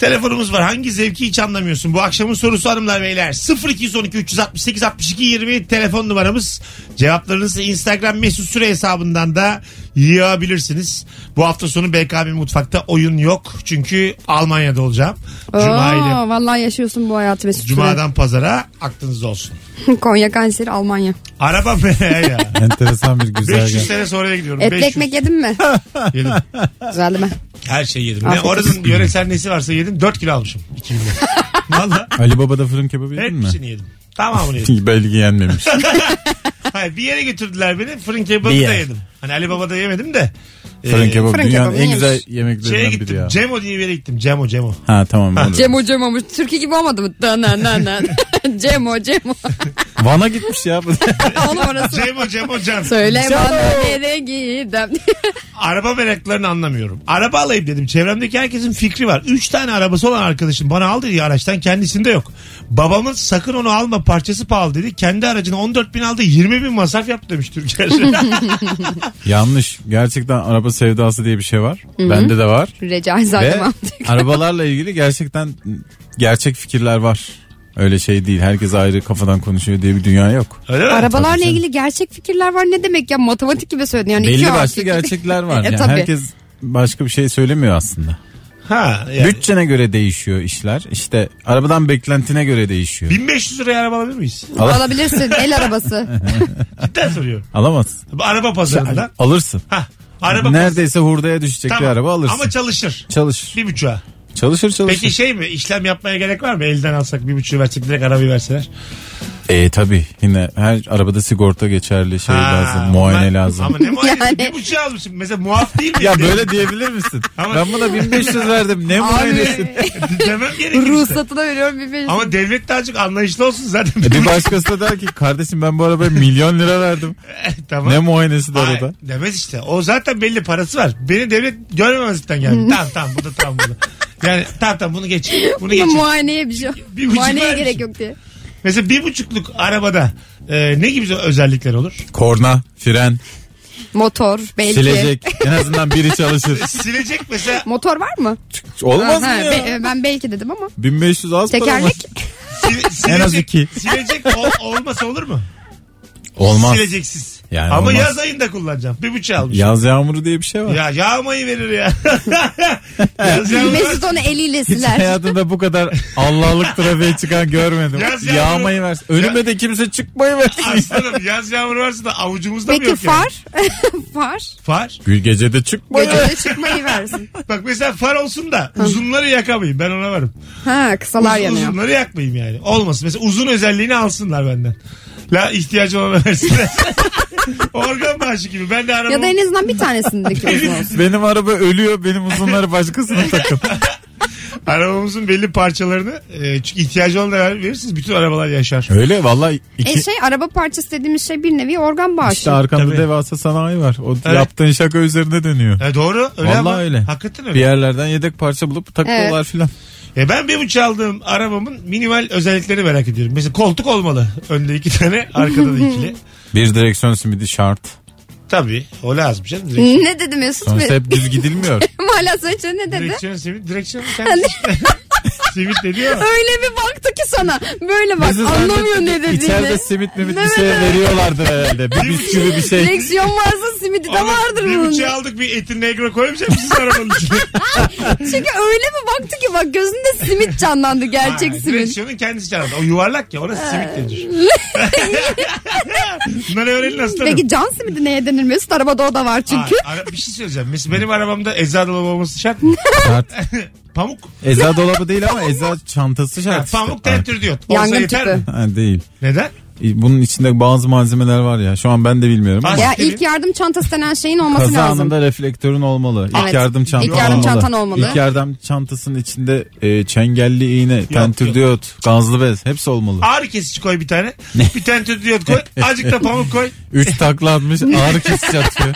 B: Telefonumuz var. Hangi zevki hiç anlamıyorsun? Bu akşamın sorusu hanımlar beyler. 0212 368 62 20 telefon numaramız. Cevaplarınızı Instagram mesut süre hesabından da yığabilirsiniz. Bu hafta sonu BKM mutfakta oyun yok. Çünkü Almanya'da olacağım. Cuma ile
C: Oo, vallahi yaşıyorsun bu hayatı Mesut. Süre.
B: Cuma'dan pazara aklınızda olsun.
C: Konya kanseri Almanya.
B: Araba be ya.
D: Enteresan bir
B: 500
D: güzergah.
B: sene sonra gidiyorum.
C: Etli
B: 500
C: ekmek yedin mi?
B: yedim.
C: Güzeldi mi?
B: Her şeyi yedim. Ne,
C: Afiyet
B: oranın yöresel nesi varsa yedim. 4 kilo almışım. 2 günde. Valla
D: Ali Baba'da fırın kebabı yedin mi?
B: hepsini yedim. Tamamını yedim.
D: Belge yenmemiş.
B: Hayır bir yere götürdüler beni. Fırın kebabı
D: Bir
B: da
D: yer.
B: yedim. Hani Ali Baba'da yemedim de.
D: fırın
B: Ee,
D: kebabı
C: fırın
D: dünyanın
C: kebabı
D: en güzel
C: yemiş.
B: Şeye
D: yemeklerinden biri
B: gittim.
D: ya.
B: Cemo diye bir yere gittim. Cemo Cemo.
D: Ha tamam. olur.
C: Cemo Cemo olmuş. Türkiye gibi olmadı mı? Dana nana. Cemo Cemo.
D: Van'a gitmiş ya.
C: Onun orası.
B: Cemo Cemo Can.
C: Söyle bana nereye gidem.
B: Araba meraklarını anlamıyorum. Araba alayım dedim. Çevremdeki herkesin fikri var. Üç tane arabası olan arkadaşım bana al dedi araçtan kendisinde yok. Babamın sakın onu alma parçası pahalı dedi. Kendi aracını 14 bin aldı 20 bin masraf yaptı demiş Türker.
D: Yanlış. Gerçekten araba sevdası diye bir şey var. Bende de var.
C: Recai
D: Ve
C: Zalim
D: arabalarla ilgili gerçekten gerçek fikirler var. Öyle şey değil. Herkes ayrı kafadan konuşuyor diye bir dünya yok.
B: Öyle mi?
C: Arabalarla ilgili gerçek fikirler var ne demek ya matematik gibi söyledin yani iki
D: Belli
C: artı
D: başlı
C: iki.
D: gerçekler var.
C: E,
D: Yani
C: tabii.
D: herkes başka bir şey söylemiyor aslında.
B: Ha, yani.
D: Bütçene göre değişiyor işler. İşte arabadan beklentine göre değişiyor.
B: 1500 liraya araba alabilir miyiz?
C: Alabilirsin el arabası.
B: Cidden soruyorum.
D: Alamazsın.
B: Bu Araba pazarında.
D: Alırsın.
B: Ha, araba pazarı-
D: Neredeyse hurdaya düşecek bir
B: Tamam.
D: araba alırsın.
B: Ama çalışır.
D: çalışır.
B: Bir buçuğa.
D: Çalışır çalışır.
B: Peki şey mi? İşlem yapmaya gerek var mı? Elden alsak bir buçuğu versek direkt arabayı verseler.
D: E tabi yine her arabada sigorta geçerli şey
B: Ha,
D: lazım muayene
B: ama-
D: lazım.
B: Ama ne muayenesi?
C: Yani-
B: Bir buçuğa almışım. Mesela muaf değil mi?
D: Ya böyle diyebilir misin?
B: Ama-
D: Ben buna 1500 verdim ne muayenesi?
C: Abi
B: Demem gerekir işte.
C: ruhsatına veriyorum bir beş.
B: Ama devlet de azıcık anlayışlı olsun zaten.
D: E bir başkası da der ki kardeşim ben bu arabaya milyon lira verdim.
B: E, tamam.
D: Ne muayenesi de
B: Hayır,
D: arada.
B: demez işte. O zaten belli parası var. Beni devlet görmemezlikten geldi. tamam tamam bu da tamam bu da. Yani tamam tamam bunu geç. Bunu
C: Bir
B: geç.
C: muayeneye bir şey yok.
B: Bir buçuk
C: Muayeneye
B: vermişim.
C: gerek yok diye.
B: Mesela bir buçukluk arabada e, ne gibi özellikler olur?
D: Korna, fren,
C: Motor belki.
D: silecek en azından biri çalışır.
B: Silecek mesela
C: Motor var mı?
D: Olmaz mı
C: Ha,
D: ya?
C: be- e, ben belki dedim ama.
D: 1500 az para mı?
C: Tekerlek
B: sile- silecek,
D: En az iki.
B: silecek ol- olmasa olur mu?
D: Olmaz.
B: Sileceksiz.
D: Yani
B: Ama
D: olmaz.
B: yaz ayında kullanacağım. Bir buçuğa almışım.
D: Yaz yağmuru diye bir şey var.
B: Ya yağmayı verir ya. yaz
C: Mesut
B: yağmur.
C: onu eliyle
D: Hiç
C: siler.
D: hayatımda bu kadar Allah'lık trafiğe çıkan görmedim.
B: Yaz yağmuru-
D: Yağmayı versin. Önüme de kimse çıkmayı versin.
B: Aslanım yaz yağmur varsa da avucumuzda mı
C: Peki
B: yok yani?
C: far? far.
B: Far.
D: Gül gecede çıkmayı ver.
C: Gecede çıkmayı versin.
B: Bak mesela far olsun da uzunları yakamayayım. Ben ona varım.
C: Ha kısalar
B: Uz-
C: yanıyor.
B: uzunları yakmayayım yani. Olmasın. Mesela uzun özelliğini alsınlar benden. La ihtiyacı olana versinler. Organ bağışı gibi. Ben de arabamı...
C: Ya da en azından bir tanesindeki uzun olsun.
D: Benim araba ölüyor benim uzunları başkasına takın.
B: Arabamızın belli parçalarını e, çünkü ihtiyacı olanlara verirsiniz bütün arabalar yaşar.
D: Öyle vallahi iki...
C: E şey araba parçası dediğimiz şey bir nevi organ bağışı.
D: işte arkanda
B: Tabii.
D: devasa sanayi var. O yaptığın şaka üzerine dönüyor.
B: E, doğru öyle
D: Vallahi
B: ama
D: öyle.
B: hakikaten
D: Bir
B: öyle.
D: yerlerden yedek parça bulup takıyorlar filan.
B: E, ben bir buçuk aldığım arabamın minimal özellikleri merak ediyorum. Mesela koltuk olmalı. Önde iki tane arkada da ikili.
D: Bir direksiyon simidi şart.
B: Tabii o lazım canım. Direkt,
C: ne dedi Mesut?
D: Sonuçta
C: Be-
D: hep düz gidilmiyor.
C: Hala söyleyeceğin ne dedi? Hani-
B: direksiyon simit. Direksiyon simit. simit dedi ya.
C: Öyle bir baktı ki sana. Böyle bak
D: Bizi
C: anlamıyor
D: zannettim
C: ne
D: ki
C: dediğini.
D: İçeride simit mimit bir
C: Evet,
D: şey
C: evet.
D: veriyorlardı herhalde. Bir bisküvi bir şey.
C: Direksiyon varsa simidi de
B: Oğlum,
C: vardır
B: Bir
C: bunun.
B: buçuk aldık bir eti negro koymayacak mısınız arabanın içine?
C: Çünkü öyle bir baktı ki bak gözünde simit canlandı gerçek
B: Ha,
C: simit.
B: Direksiyonun kendisi canlandı. O yuvarlak ya orası simit denir. Bunları öğrenin aslanım.
C: Peki can simidi neye denir Mesut? Arabada o da var çünkü.
B: Aa, ara- bir şey söyleyeceğim. Mesela benim arabamda eczacı dolabı olması şart mı?
D: Şart.
B: Pamuk.
D: Eza dolabı değil ama eza çantası
B: Ha,
D: şart. işte.
B: pamuk tentür diyor.
C: Yangın
B: Olsa yeter
C: tüpü.
B: mi?
D: Ha, değil. E,
B: Neden?
D: Bunun içinde bazı malzemeler var ya. Şu an ben de bilmiyorum ama.
B: Aslında
C: Ya ilk yardım çantası denen şeyin olması
D: Kaza
C: lazım.
D: anında reflektörün olmalı. İlk
C: Evet.
D: yardım çantan
C: İlk yardım
D: olmalı.
C: çantan olmalı.
D: İlk yardım çantasının içinde e, çengelli iğne,
B: yok.
D: tentür diyot, gazlı bez hepsi olmalı.
B: ağrı kesici koy bir tane. bir tane tütü diyot koy. Azıcık da pamuk koy.
D: Üç takla atmış ağrı kesici atıyor.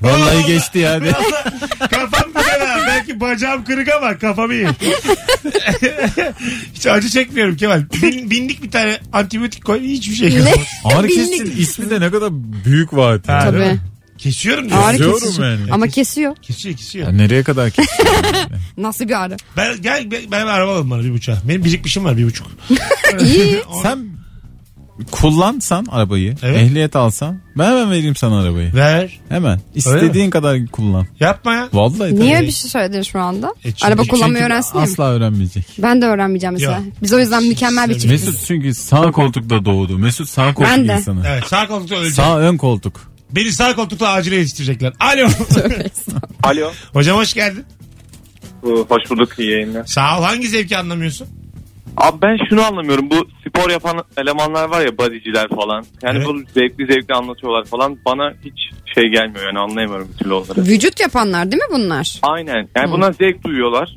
D: Vallahi geçti ya. de.
B: Kafam fena. Belki bacağım kırık ama kafam iyi. hiç acı çekmiyorum Kemal. Bin- bindik bir tane antibiyotik koy hiçbir şey yok.
D: Ağrı
C: Binlik.
D: kesin ismi de ne kadar büyük vaat.
B: Ha,
D: Yani.
B: değil
C: Tabii.
B: mi? Kesiyorum diyor.
C: Ağrı
D: Kesiyorum
C: kesici.
D: yani.
C: Ama kesiyor.
B: Kesiyor kesiyor.
D: Ya nereye kadar kesin?
C: Nasıl bir ağrı?
B: Ben, gel ben, ben araba alalım bana bir buçuğa. Benim birikmişim var bir buçuk.
C: İyi.
D: Sen kullansan arabayı,
B: Evet.
D: ehliyet alsan ben hemen vereyim sana arabayı.
B: Ver.
D: Hemen. İstediğin kadar kullan.
B: Yapma ya.
D: Vallahi
C: Niye
D: tabii.
C: bir şey söyledin şu anda?
B: E çünkü-
C: Araba kullanmayı
D: Çünkü
C: öğrensin diye mi?
D: Asla öğrenmeyecek.
C: Ben de öğrenmeyeceğim mesela.
B: Yok.
C: Biz o yüzden mükemmel bir çiftiz.
D: Mesut çünkü sağ koltukta doğdu. Mesut sağ koltuk
C: Ben de.
D: insanı.
B: Evet sağ koltukta öleceğim.
D: Sağ ön koltuk.
B: Beni sağ koltukta acile yetiştirecekler. Alo.
E: Alo.
B: Hocam hoş geldin.
E: Hoş bulduk iyi yayınlar.
B: Sağ ol. Hangi zevki anlamıyorsun?
G: Abi ben şunu anlamıyorum. Bu spor yapan elemanlar var ya bodyciler falan. Yani
B: Evet.
G: bu zevkli zevkli anlatıyorlar falan. Bana hiç şey gelmiyor yani anlayamıyorum bir türlü onları.
C: Vücut yapanlar değil mi bunlar?
G: Aynen. Yani bundan zevk duyuyorlar.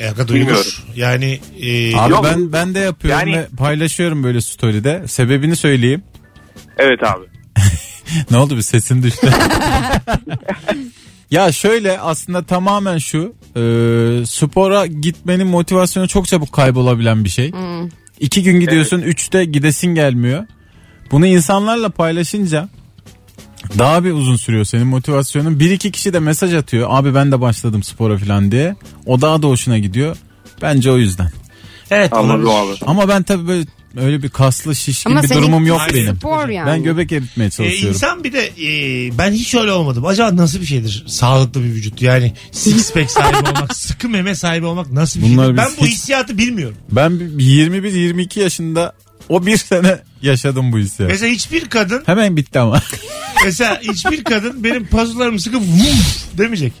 B: Yaka duyulur.
G: Bilmiyorum.
B: Yani e,
D: Abi
G: Yok.
D: ben ben de yapıyorum
G: Yani-
D: ve paylaşıyorum böyle story'de. Sebebini söyleyeyim.
G: Evet abi.
D: Ne oldu bir sesin düştü. ya şöyle aslında tamamen şu e, spora gitmenin motivasyonu çok çabuk kaybolabilen bir şey.
C: Hmm.
D: İki gün gidiyorsun üçte gidesin gelmiyor. Bunu insanlarla paylaşınca daha bir uzun sürüyor senin motivasyonun. Bir iki kişi de mesaj atıyor abi ben de başladım spora falan diye. O daha da hoşuna gidiyor. Bence o yüzden.
B: evet
G: Anladım
B: olabilir.
G: abi.
D: Ama ben tabii böyle öyle bir kaslı şişkin
C: Ama
D: bir
C: senin
D: durumum yok
B: Aynen.
D: benim.
C: Spor yani.
D: Ben göbek eritmeye çalışıyorum.
B: insan bir de e, ben hiç öyle olmadım. Acaba nasıl bir şeydir sağlıklı bir vücut? Yani six pack sahibi olmak, sıkı meme sahibi olmak nasıl bir
D: Bunlar
B: şeydir? Ben
D: biz
B: bu
D: hiç-
B: hissiyatı bilmiyorum.
D: Ben bir 21-22 yaşında o bir sene yaşadım bu hissi.
B: Mesela hiçbir kadın,
D: Hemen bitti ama.
B: mesela hiçbir kadın benim pazularım sıkı vuf demeyecek.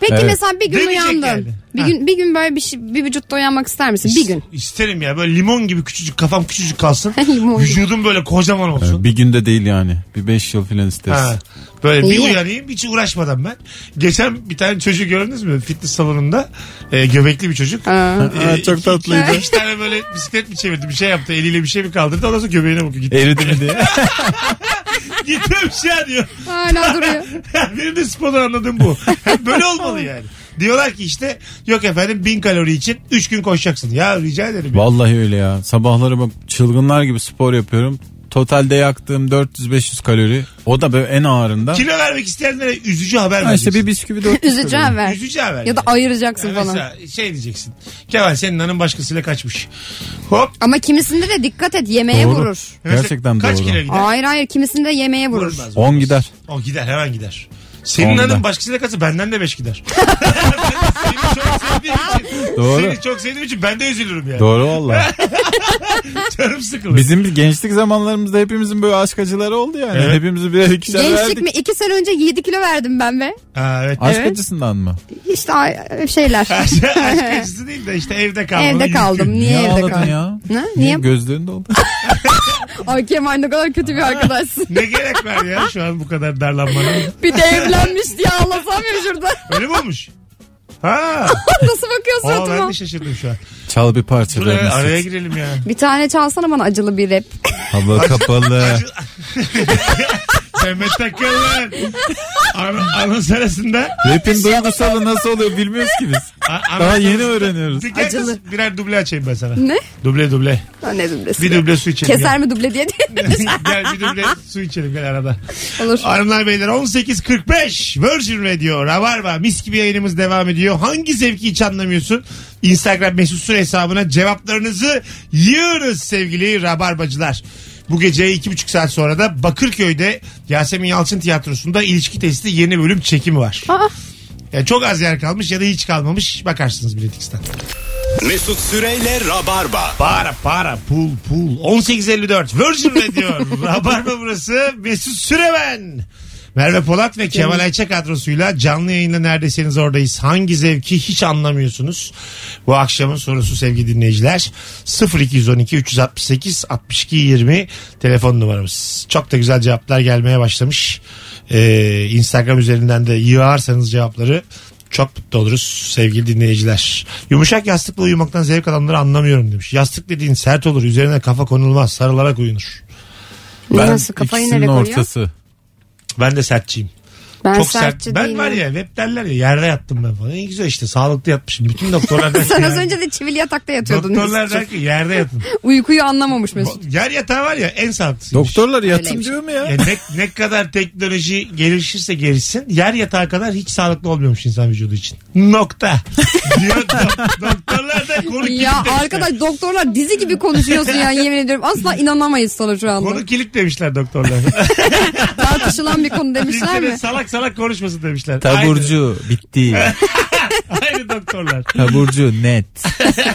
C: Peki
D: Evet.
C: mesela bir gün
B: Demeyecek
C: uyandın.
B: yani.
C: Bir
B: Ha.
C: gün bir gün böyle bir şey, bir vücutta uyanmak ister misin? Bir gün.
B: İs- İsterim ya böyle limon gibi küçücük kafam küçücük kalsın.
C: Limon gibi.
B: vücudum böyle kocaman olsun.
D: bir günde değil yani. Bir 5 yıl filan
B: Ha,
D: isteriz.
B: böyle bir
C: İyi.
B: uyanayım hiç uğraşmadan ben. Geçen bir tane çocuğu gördünüz mü? Fitness salonunda e, göbekli bir çocuk.
C: Ha.
B: E,
D: Aa, çok
B: iki-
D: tatlıydı.
B: iki- İki tane böyle bisiklet mi çevirdi bir şey yaptı eliyle bir şey mi kaldırdı ondan sonra göbeğine bakıyor. Gitti,
D: Eridi mi diye. E-
B: gitmemiş ya diyor.
C: Hala duruyor.
B: Benim de spordan anladığım bu. Hep böyle olmalı yani. Diyorlar ki işte yok efendim bin kalori için 3 gün koşacaksın. Ya rica ederim. ya.
D: Vallahi öyle ya. Sabahları bak çılgınlar gibi spor yapıyorum. Totalde yaktığım 400-500 kalori. O da böyle en ağırında.
B: Kilo vermek isteyenlere üzücü haber
D: Ha işte
B: vereceksin.
D: bir bisküvi de otuz
C: Üzücü
D: kalori.
C: haber.
B: Üzücü haber.
C: Ya da ayıracaksın
B: Yani
C: falan.
B: Mesela şey diyeceksin. Kemal senin hanım başkasıyla kaçmış. Hop.
C: Ama kimisinde de dikkat et yemeğe
D: Doğru.
C: vurur.
B: Mesela
D: Gerçekten
B: kaç
D: doğru.
B: kilo gider?
C: Hayır hayır kimisinde yemeğe vurur.
B: Vurmaz, vurmaz.
D: 10 gider.
B: O gider hemen gider. Senin
D: On
B: hanım
D: gider.
B: başkasıyla kaçsa benden de 5 gider. seni çok sevdiğim için.
D: Doğru.
B: Seni çok sevdiğim için ben de üzülürüm yani.
D: Doğru valla.
B: Canım sıkılır.
D: Bizim gençlik zamanlarımızda hepimizin böyle aşk acıları oldu yani.
B: Evet.
D: Hepimizi birer ikişer verdik.
C: Gençlik mi? İki sene önce 7 kilo verdim ben be.
B: Ha, evet.
D: Aşk
C: Evet.
D: acısından mı?
C: İşte ay- e, şeyler.
B: Aşk acısı değil de işte evde kaldım.
C: evde kaldım. Niye, evde
D: ağladın
C: kaldın?
D: ya?
C: Ne? Niye?
D: Niye? Gözlerin doldu.
C: Ay Kemal ne kadar kötü bir arkadaşsın.
B: Ne gerek var ya şu an bu kadar darlanmana.
C: bir de evlenmiş diye ağlasam ya şurada.
B: Öyle mi olmuş? Ha.
C: Nasıl bakıyor
B: Aa, ben
C: suratıma?
B: de şaşırdım şu an.
D: Çal bir parça
B: Dur,
D: vermesin.
B: araya girelim ya.
C: Bir tane çalsana bana acılı bir rap.
D: Hava kapalı.
B: Mehmet Takıl'ın ana, anons arasında
D: Rap'in
C: Şey
D: duygusalı nasıl oluyor bilmiyoruz ki biz.
B: a-
D: Daha
B: anons
D: yeni
B: arasında-
D: öğreniyoruz.
B: Bir gel kız,
C: Acılı.
B: birer duble açayım ben sana.
C: Ne?
B: Duble duble.
C: Ha, ne dublesi?
B: Bir duble su içelim.
C: Keser mi duble diye diye.
B: gel. gel bir duble su içelim gel arada.
C: Olur.
B: Hanımlar beyler 18.45 Virgin Radio Rabarba mis gibi yayınımız devam ediyor. Hangi zevki hiç anlamıyorsun? Instagram mesut süre hesabına cevaplarınızı yığınız sevgili Rabarbacılar. Bu gece iki buçuk saat sonra da Bakırköy'de Yasemin Yalçın Tiyatrosu'nda ilişki testi yeni bölüm çekimi var.
C: Aa.
B: Yani çok az yer kalmış ya da hiç kalmamış bakarsınız biletiksten.
A: Mesut Süreyle Rabarba.
B: Para para pul pul 1854 Virgin Radio Rabarba burası Mesut Süremen Merve Polat ve Kemal Ayça kadrosuyla canlı yayında neredesiniz oradayız. Hangi zevki hiç anlamıyorsunuz? Bu akşamın sorusu sevgili dinleyiciler. 0212 368 62 20 telefon numaramız. Çok da güzel cevaplar gelmeye başlamış. Ee, Instagram üzerinden de yığarsanız cevapları çok mutlu oluruz sevgili dinleyiciler. Yumuşak yastıkla uyumaktan zevk alanları anlamıyorum demiş. Yastık dediğin sert olur üzerine kafa konulmaz sarılarak uyunur.
C: Nasıl kafayı
D: ikisinin
C: nereye koyuyor?
D: ortası.
B: Ben de sertçiyim.
C: Ben
B: Çok
C: sertçi
B: sert. Ben
C: değilim.
B: var ya hep derler ya yerde yattım ben falan. En güzel işte sağlıklı yatmışım. Bütün doktorlar der ki,
C: Sen az
B: yani-
C: önce de çivili yatakta yatıyordun.
B: Doktorlar der ki yerde yatın.
C: Uykuyu anlamamış Mesut.
B: Yer yatağı var ya en sağlıklısıymış.
D: Doktorlar yatın
C: Öyleymiş.
D: diyor mu ya?
B: Ya E, ne, ne kadar teknoloji gelişirse gelişsin yer yatağı kadar hiç sağlıklı olmuyormuş insan vücudu için. Nokta. Diyor do- doktorlar da konu
C: Ya
B: kilit demişler.
C: arkadaş doktorlar dizi gibi konuşuyorsun ya yemin ediyorum. Asla inanamayız sana şu anda.
B: Konu kilit demişler doktorlar.
C: Tartışılan bir konu demişler
B: Kimsenin
C: mi?
B: salak salak konuşmasın demişler.
D: Taburcu bitti.
B: Aynı, aynı doktorlar.
D: Taburcu net.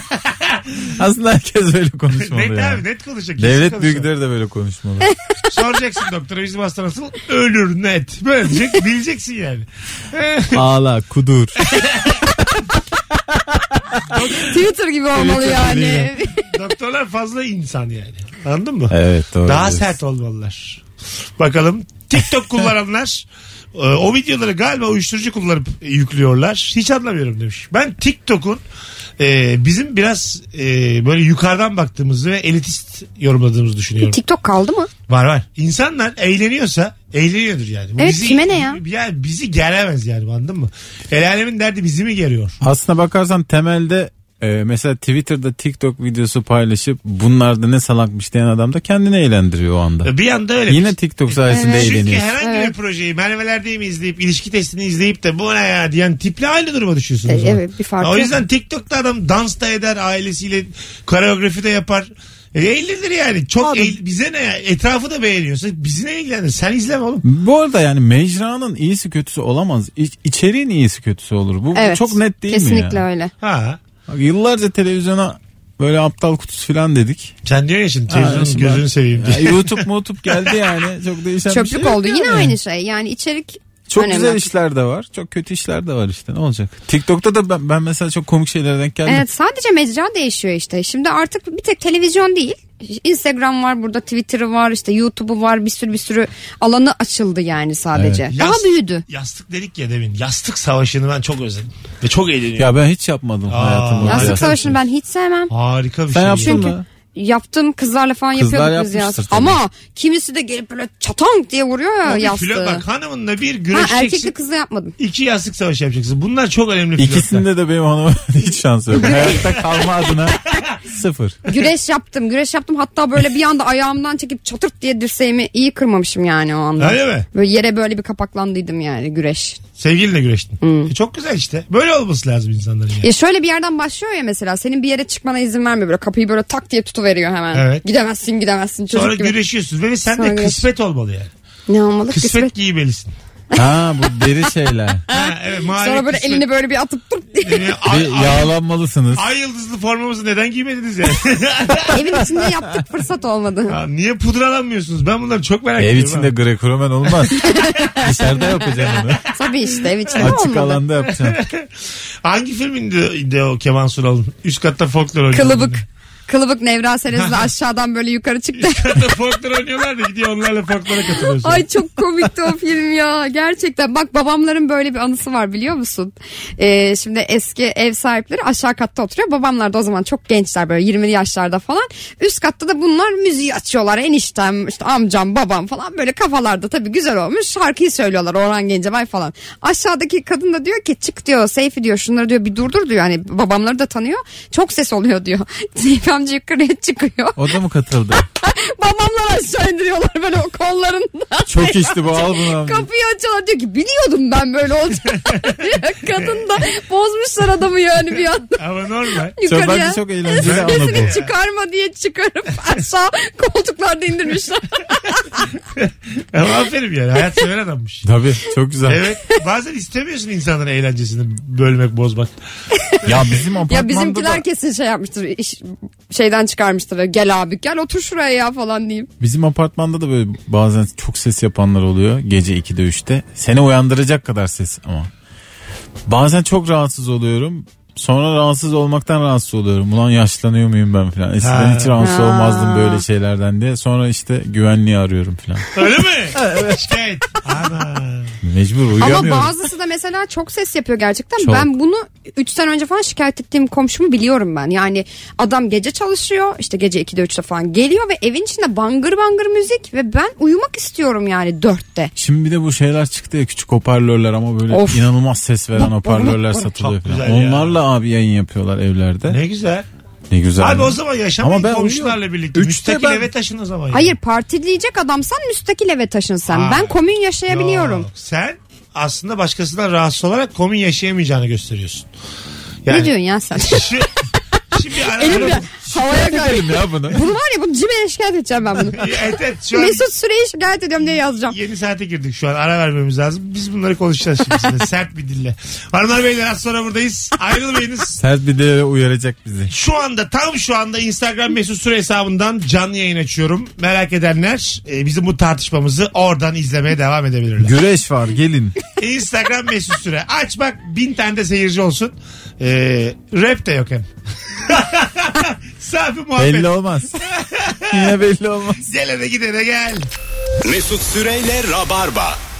D: Aslında herkes böyle konuşmalı
B: net
D: ya.
B: abi net şey konuşacak. kimse
D: Devlet
B: konuşamaz.
D: büyükleri de böyle konuşmalı.
B: Soracaksın doktora bizim hasta nasıl? Ölür net. Böyle diyecek, bileceksin yani.
D: Ağla, kudur.
C: Twitter gibi olmalı yani.
B: Doktorlar fazla insan yani. Anladın mı?
D: Evet doğru.
B: Daha
D: diyorsun.
B: sert olmalılar. Bakalım TikTok kullananlar e, o videoları galiba uyuşturucu kullanıp yüklüyorlar. Hiç anlamıyorum demiş. Ben TikTok'un e, bizim biraz e, böyle yukarıdan baktığımızı ve elitist yorumladığımızı düşünüyorum.
C: TikTok kaldı mı?
B: Var var. İnsanlar eğleniyorsa eğleniyordur yani. Bu
C: Evet, kime ne ya?
B: Ya bizi geremez yani anladın mı? El alemin derdi bizi mi geriyor?
D: Aslına bakarsan temelde e, mesela Twitter'da TikTok videosu paylaşıp bunlarda ne salakmış diyen adam da kendini eğlendiriyor o anda.
B: E, Bir anda öyle.
D: Yine TikTok sayesinde
B: Çünkü
D: eğleniyor.
B: herhangi bir projeyi Merve'lerdeyim izleyip ilişki testini izleyip de bu ne ya diyen tiple aynı duruma düşüyorsun. o
C: E,
B: zaman.
C: evet, bir farkı
B: O
C: yok.
B: yüzden TikTok'ta adam dans da eder ailesiyle koreografi de yapar. E, eğlenir yani. Çok eğ- bize ne ya? Etrafı da beğeniyorsa bizi ne ilgilenir? Sen izleme oğlum.
D: Bu arada yani mecranın iyisi kötüsü olamaz. İç, içeriğin iyisi kötüsü olur. Bu, bu
C: Evet.
D: çok net değil
C: Kesinlikle
D: mi ya?
C: öyle.
B: Ha.
D: Bak, yıllarca televizyona böyle aptal kutusu falan dedik.
B: Sen diyorsun ya şimdi
D: Ha,
B: televizyonun
D: şimdi
B: gözünü
D: ben-
B: seveyim diye.
D: Ya, YouTube YouTube geldi yani. Çok değişen bir şey
C: Çöplük
D: yok
C: oldu.
D: yani.
C: Yine aynı şey. Yani içerik
D: Çok
C: önemli.
D: güzel işler de var. Çok kötü işler de var işte. Ne olacak? TikTok'ta da ben, ben mesela çok komik şeylere denk geldim.
C: Evet sadece mecra değişiyor işte. Şimdi artık bir tek televizyon değil. Instagram var burada Twitter'ı var işte YouTube'u var bir sürü bir sürü alanı açıldı yani sadece. Daha
B: Yas-
C: büyüdü.
B: Yastık dedik ya demin. Yastık savaşını ben çok özledim. Ve çok eğleniyorum.
D: Ya ben hiç yapmadım
B: Aa.
D: hayatımda.
B: Yastık
C: Yastık
D: Hayatımda.
C: savaşını ben hiç sevmem.
B: Harika bir
D: Sen
B: şey.
D: yaptın
B: ya.
D: mı?
C: Yaptığım kızlarla falan
D: Kızlar
C: yapıyorduk biz
D: yapmıştır
C: yastık.
D: tabii.
C: Ama kimisi de gelip böyle çatank diye vuruyor ya
B: Bir
C: yastığı.
B: flört- Bak hanımınla bir
C: ha,
B: güreşeceksin.
C: erkekli kızla yapmadım.
B: İki yastık savaşı yapacaksın. Bunlar çok önemli flörtler.
D: İkisinde de benim hanıma hiç şans yok. Hayatta kalma adına sıfır.
C: Güreş yaptım güreş yaptım hatta böyle bir anda ayağımdan çekip çatırt diye dirseğimi iyi kırmamışım yani o anda.
B: Öyle mi?
C: Böyle yere böyle bir kapaklandıydım yani güreş.
B: Sevgilinle güreştin. E, çok güzel işte. Böyle olması lazım insanların yani.
C: Ya şöyle bir yerden başlıyor ya mesela senin bir yere çıkmana izin vermiyor böyle kapıyı böyle tak diye tutuveriyor hemen.
B: Evet.
C: Gidemezsin gidemezsin çocuk
B: Sonra
C: gibi.
B: güreşiyorsun ve sen
C: Sonra
B: de
C: güreş.
B: kısmet olmalı yani.
C: Ne olmalı
B: Kısmet,
C: kısmet.
B: giymelisin.
D: Ha bu deri şeyler.
B: Ha, evet, mavi
C: Sonra böyle
B: kısmet.
C: elini böyle bir atıp tırt diye.
B: Yani
D: Bir
B: ay, ay,
D: yağlanmalısınız.
B: ay yıldızlı formamızı neden giymediniz yani?
C: Evin içinde yaptık fırsat olmadı.
B: Ya Niye pudralanmıyorsunuz? Ben bunları çok merak
D: Ev
B: ediyorum.
D: içinde
B: ha.
D: grekoromen olmaz. Dışarıda yapacaksın onu.
C: Tabii işte ev içinde
D: Açık
C: olmadı.
D: alanda yapacaksın.
B: Hangi filminde de o Kemal Sunal'ın? Üst katta folklor oynuyor.
C: Kılıbık. Kılıbık Nevra Serez'le aşağıdan böyle yukarı çıktı.
B: Üst katta folklor oynuyorlar da gidiyor onlarla folklora katılıyorsun.
C: Ay çok komikti o film ya gerçekten. Bak babamların böyle bir anısı var biliyor musun? Ee, şimdi eski ev sahipleri aşağı katta oturuyor. Babamlar da o zaman çok gençler böyle 20'li yaşlarda falan. Üst katta da bunlar müziği açıyorlar. Eniştem işte amcam babam falan böyle kafalarda tabii güzel olmuş. Şarkıyı söylüyorlar Orhan Gencebay falan. Aşağıdaki kadın da diyor ki çık diyor Seyfi diyor şunları diyor bir durdur diyor. Hani babamları da tanıyor. Çok ses oluyor diyor. Seyfi amca yukarıya çıkıyor.
D: O da mı katıldı?
C: Babamlar aşağı indiriyorlar böyle o kollarından.
D: Çok içti bu al bunu. abi.
C: Kapıyı açıyorlar diyor ki biliyordum ben böyle olacağını. Kadın da bozmuşlar adamı yani bir anda.
B: Ama normal.
D: Çok,
C: Yukarıya.
D: bence çok eğlenceli anı
C: Sesini
D: bu.
C: çıkarma diye çıkarıp aşağı koltuklarda indirmişler.
B: Ama aferin yani. Hayat sever adammış.
D: Tabii çok güzel.
B: Evet. Bazen istemiyorsun insanların eğlencesini bölmek, bozmak.
D: Ya bizim apartmanda
C: ya
D: da-
C: bizimkiler kesin şey yapmıştır. iş- şeyden çıkarmıştır. Gel abi gel otur şuraya ya falan diyeyim.
D: Bizim apartmanda da böyle bazen çok ses yapanlar oluyor gece 2'de 3'te. Seni uyandıracak kadar ses ama. Bazen çok rahatsız oluyorum. Sonra rahatsız olmaktan rahatsız oluyorum. Ulan yaşlanıyor muyum ben falan. Eskiden
B: Ha.
D: hiç rahatsız
C: Ha.
D: olmazdım böyle şeylerden diye. Sonra işte güvenliği arıyorum falan.
B: Öyle mi? evet. Şikayet. Ana.
D: mecbur
C: Ama
D: uyuyamıyorum.
C: bazısı da mesela çok ses yapıyor gerçekten.
D: Çok.
C: Ben bunu 3 sene önce falan şikayet ettiğim komşumu biliyorum ben. Yani adam gece çalışıyor işte gece 2'de 3'te falan geliyor ve evin içinde bangır bangır müzik ve ben uyumak istiyorum yani 4'te.
D: Şimdi bir de bu şeyler çıktı ya küçük hoparlörler ama böyle
C: Of.
D: inanılmaz ses veren hoparlörler satılıyor
B: Çok
D: falan.
B: güzel ya.
D: Onlarla abi yayın yapıyorlar evlerde. Ne,
B: Ne güzel.
D: güzel.
B: Abi o zaman yaşamayın
D: Ama ben
B: komşularla
D: uyuyorum.
B: birlikte.
D: Üçte
B: Müstakil
D: ben-
B: eve taşın o zaman. yani.
C: Hayır partileyecek adamsan müstakil eve taşın sen.
B: Aa,
C: ben komün yaşayabiliyorum.
B: Yok, sen aslında başkasından rahatsız olarak komün yaşayamayacağını gösteriyorsun.
C: Ne diyorsun ya sen?
B: Şu, şimdi ara-
C: Elim de havaya kaydı.
D: Edelim ya bunu.
C: Bunu var ya bunu Cime'ye şikayet edeceğim ben bunu.
B: Evet, evet, şu an
C: Mesut Süreyi şikayet ediyorum diye yazacağım.
B: yeni saate girdik şu an. Ara vermemiz lazım. Biz bunları konuşacağız şimdi size. Sert bir dille. Hanımlar beyler az sonra buradayız. Ayrılmayınız.
D: Sert bir de uyaracak bizi.
B: Şu anda tam şu anda Instagram mesut süre hesabından canlı yayın açıyorum. Merak edenler e, bizim bu tartışmamızı oradan izlemeye devam edebilirler.
D: Güreş var gelin.
B: Instagram mesut süre. Aç bak bin tane de seyirci olsun. Ee, rap de yok hem. Safi muhabbet.
D: belli olmaz. Yine belli olmaz.
B: Gelene gidene gel.
A: Mesut Süreyle Rabarba.